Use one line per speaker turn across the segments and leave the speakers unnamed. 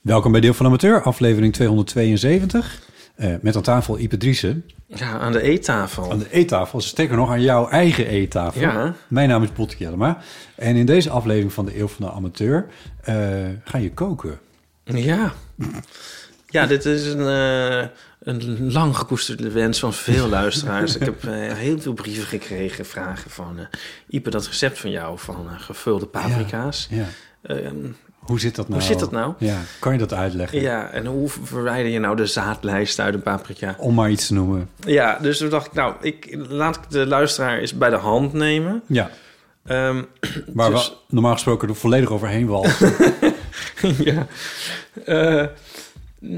Welkom bij Deel van Amateur, aflevering 272. Eh, met aan tafel Ipe Driessen.
Ja, aan de eettafel.
Aan de eettafel, sterker nog aan jouw eigen eettafel.
Ja.
Mijn naam is Botte Jellema. En in deze aflevering van de Eeuw van de Amateur eh, ga je koken.
Ja. Ja, dit is een, eh, een lang gekoesterde wens van veel luisteraars. Ik heb eh, heel veel brieven gekregen, vragen van... eh Ipe, dat recept van jou van eh, gevulde paprika's.
Ja.
Ehm,
Hoe zit dat nou?
zit dat nou?
Ja, kan je dat uitleggen?
ja, en hoe verwijder je nou de zaadlijst uit een paprika?
Om maar iets te noemen.
Ja, dus toen dacht ik, nou, ik, laat ik de luisteraar eens bij de hand nemen.
Ja,
Ehm,
waar
Dus-
we normaal gesproken er volledig overheen walsen.
ja. Eh,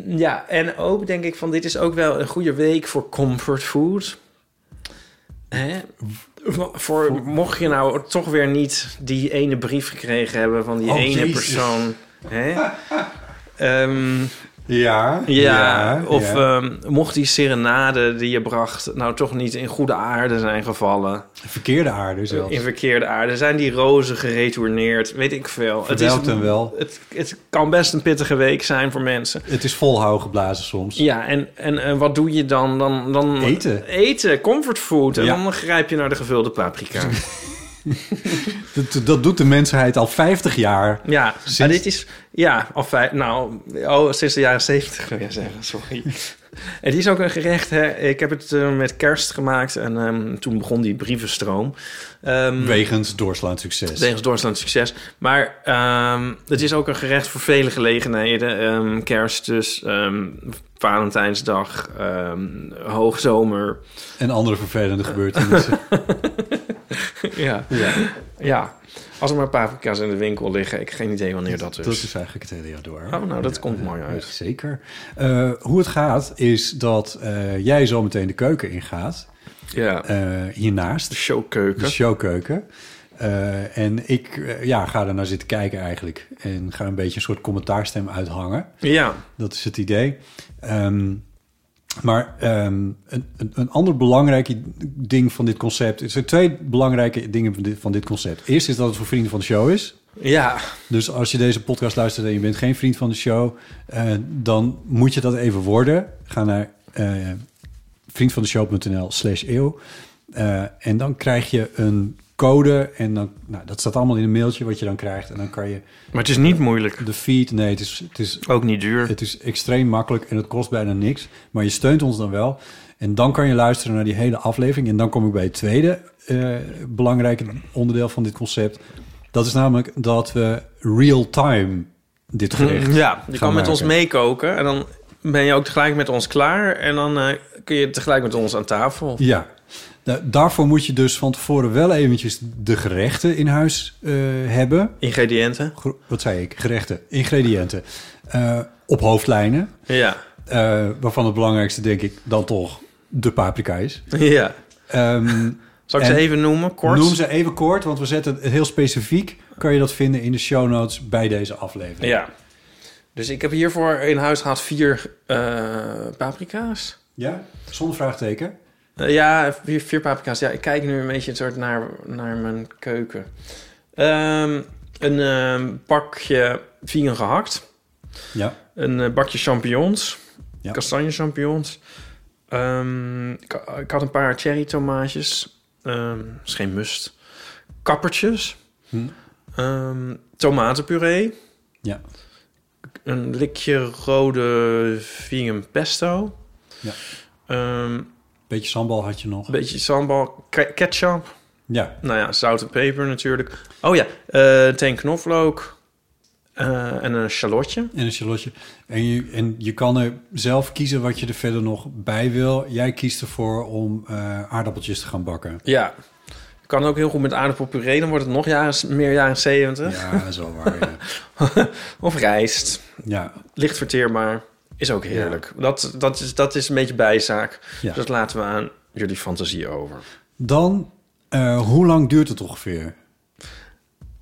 ja, en ook denk ik van dit is ook wel een goede week voor comfort food. Hè? Voor, mocht je nou toch weer niet die ene brief gekregen hebben van die
Oh,
ene
Jezus.
persoon. Hè? Ehm,
ja,
ja, of
ja.
ehm, mocht die serenade die je bracht nou toch niet in goede aarde zijn gevallen.
Verkeerde aarde zelfs.
In verkeerde aarde. Zijn die rozen geretourneerd? Weet ik veel. Het, is,
Verwelkt hem wel.
het, het kan best een pittige week zijn voor mensen.
Het is volhouden geblazen soms.
Ja, en, en, en wat doe je dan? dan, dan
Eten.
Eten, comfortfood. En
Ja.
dan grijp je naar de gevulde paprika.
Dat, dat doet de mensheid al 50 jaar.
ja, maar
Sinds-
dit is... Ja, al vijf, nou, oh, sinds de jaren zeventig wil je zeggen, sorry. het is ook een gerecht, hè. Ik heb het eh, met kerst gemaakt en ehm, toen begon die brievenstroom. Ehm,
Wegens doorslaand succes.
Wegens Duitsland succes. Maar ehm, het is ook een gerecht voor vele gelegenheden. Ehm, kerst dus, ehm, Valentijnsdag, ehm, hoogzomer.
En andere vervelende gebeurtenissen.
Ja. ja. Als er maar paprika's in de winkel liggen. Ik heb geen idee wanneer dat is.
Dat is eigenlijk het hele jaar door.
Oh, nou, dat komt mooi
eh,
uit.
Zeker. Eh, hoe het gaat is dat eh, jij zo meteen de keuken ingaat.
Ja.
eh,
De
hiernaast, de
showkeuken.
showkeuken. Eh, en ik eh, ja, ga er naar zitten kijken eigenlijk. En ga een beetje een soort commentaarstem uithangen.
Ja.
Dat is het idee. Ehm, maar ehm, een, een, een ander belangrijk i- ding van dit concept... Er zijn twee belangrijke dingen van dit, van dit concept. Eerst is dat het voor vrienden van de show is.
Ja.
Dus als je deze podcast luistert en je bent geen vriend van de show, eh, dan moet je dat even worden. Ga naar eh vriendvandeshow.nl slash eeuw. Eh, en dan krijg je een code. En dan, nou, dat staat allemaal in een mailtje wat je dan krijgt. En dan kan je
Maar het is niet moeilijk.
de feed. Nee, het is, het is,
Ook niet duur.
het is extreem makkelijk en het kost bijna niks. Maar je steunt ons dan wel. En dan kan je luisteren naar die hele aflevering. En dan kom ik bij het tweede eh, belangrijke onderdeel van dit concept. Dat is namelijk dat we real-time dit gerecht
Mm, Ja. Je
gaan
kan met ons
maken.
meekoken. En dan ben je ook tegelijk met ons klaar. En dan eh, kun je tegelijk met ons aan tafel.
Ja. Nou, daarvoor moet je dus van tevoren wel eventjes de gerechten in huis eh, hebben.
Ingrediënten.
Gro- Wat zei ik? Gerechten, ingrediënten. Eh, op hoofdlijnen.
Ja.
Eh, waarvan het belangrijkste denk ik dan toch de paprika is.
Ja.
Ehm,
Zal ik
En-
ze even noemen? Kort.
Noem ze even kort, want we zetten het heel specifiek. Kan je dat vinden in de show notes bij deze aflevering?
Ja. Dus ik heb hiervoor in huis gehad vier eh, paprika's.
Ja? Zonder vraagteken?
Eh, ja, vier, vier paprika's. Ja, ik kijk nu een beetje een soort naar, naar mijn keuken. Ehm, een ehm, bakje vegan gehakt.
Ja.
Een eh, bakje champignons.
Ja.
Kastanje champignons. Ehm, ik, ik had een paar cherry tomaatjes. Ehm is geen must. Kappertjes.
Hm.
Ehm, tomatenpuree.
Ja.
een likje rode vegan pesto.
Ja.
Ehm,
Beetje sambal had je nog.
een beetje sambal, ke- ketchup.
Ja,
Nou ja, zout en peper natuurlijk. Oh ja, eh teen knoflook. eh, en een shallotje.
en een shallotje. En je, en je kan er zelf kiezen wat je er verder nog bij wil. Jij kiest ervoor om eh, aardappeltjes te gaan bakken.
Ja. Kan ook heel goed met aardappelpuree. Dan wordt het nog jaren, meer jaren 70.
Ja, dat is wel waar. Ja.
Of rijst.
ja.
Licht verteerbaar. Is ook heerlijk. Dat, dat, is, dat is een beetje bijzaak.
Ja.
Dus dat laten we aan jullie fantasie over.
Dan, eh, hoe lang duurt het ongeveer?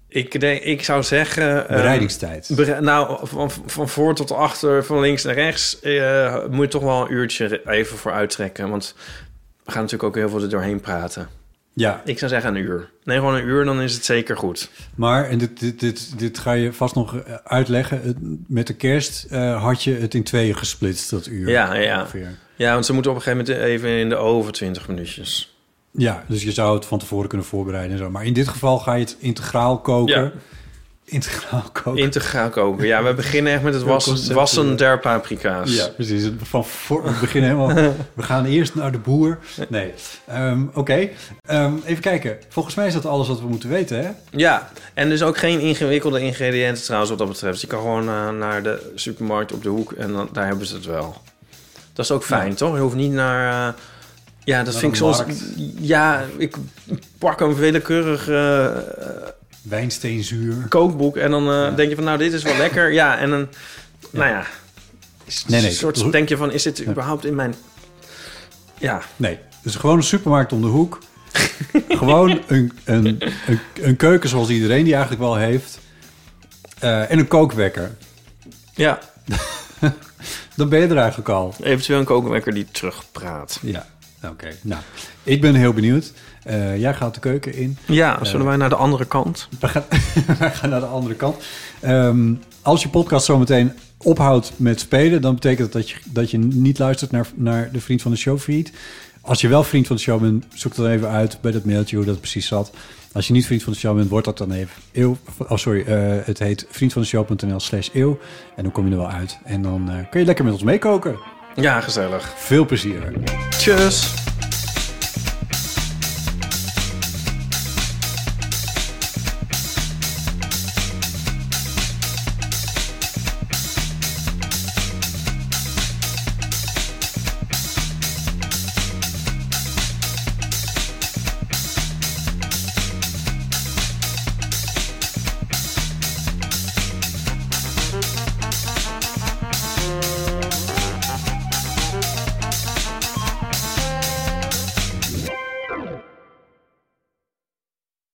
Ik, denk, ik zou zeggen... eh,
Bereidingstijd.
bere- nou, van, van voor tot achter, van links naar rechts... eh, moet je toch wel een uurtje re- even voor uittrekken. Want we gaan natuurlijk ook heel veel er doorheen praten.
ja,
Ik zou zeggen een uur. Nee, gewoon een uur, dan is het zeker goed.
maar en dit, dit, dit, dit ga je vast nog eh, uitleggen. Het- Met de kerst eh, had je het in tweeën gesplitst, dat uur.
Ja, ja.
ongeveer.
Ja, want ze moeten op een gegeven moment even in de oven 20 minuutjes.
Ja, dus je zou het van tevoren kunnen voorbereiden en zo. Maar in dit geval ga je het integraal koken.
Ja.
Integraal koken.
Integraal koken. Ja, we beginnen echt met het wassen,
concept,
wassen
ja.
der paprika's.
eh, ja, precies. Van voor het begin helemaal. We gaan eerst naar de boer. Nee. Ehm, Oké. Ehm, even kijken. Volgens mij is dat alles wat we moeten weten, hè?
Ja, en dus ook geen ingewikkelde ingrediënten trouwens wat dat betreft. Je kan gewoon eh, naar de supermarkt op de hoek en dan, daar hebben ze het wel. Dat is ook fijn, toch? Je hoeft niet naar... eh, ja, dat
Naar
vind ik
de
soms...
markt.
Ja, ik pak een willekeurig eh,
Wijnsteenzuur.
kookboek en dan eh, denk je van... Nou, dit is wel lekker. Ja, en dan... Nou ja. Is,
Nee, nee.
een soort, denk je van, is dit überhaupt in mijn... Ja,
Nee, dus gewoon een supermarkt om de hoek. gewoon een, een, een, een keuken zoals iedereen die eigenlijk wel heeft. Eh, en een kookwekker.
ja.
Dan ben je er eigenlijk al.
Eventueel een kookwekker die terugpraat.
Ja, oké. Nou, ik ben heel benieuwd. Eh, jij gaat de keuken in.
Ja, zullen wij naar de andere kant?
We gaan, we gaan naar de andere kant. Ehm, als je podcast zometeen ophoudt met spelen, dan betekent dat dat je, dat je niet luistert naar, naar de Vriend van de Show feed. Als je wel Vriend van de Show bent, zoek dan even uit bij dat mailtje hoe dat precies zat. Als je niet Vriend van de Show bent, wordt dat dan even eeuw. Oh, sorry, eh, het heet vriendvandeshow.nl slash eeuw. En dan kom je er wel uit. En dan eh, kun je lekker met ons meekoken.
Ja, gezellig.
Veel plezier.
Tjus!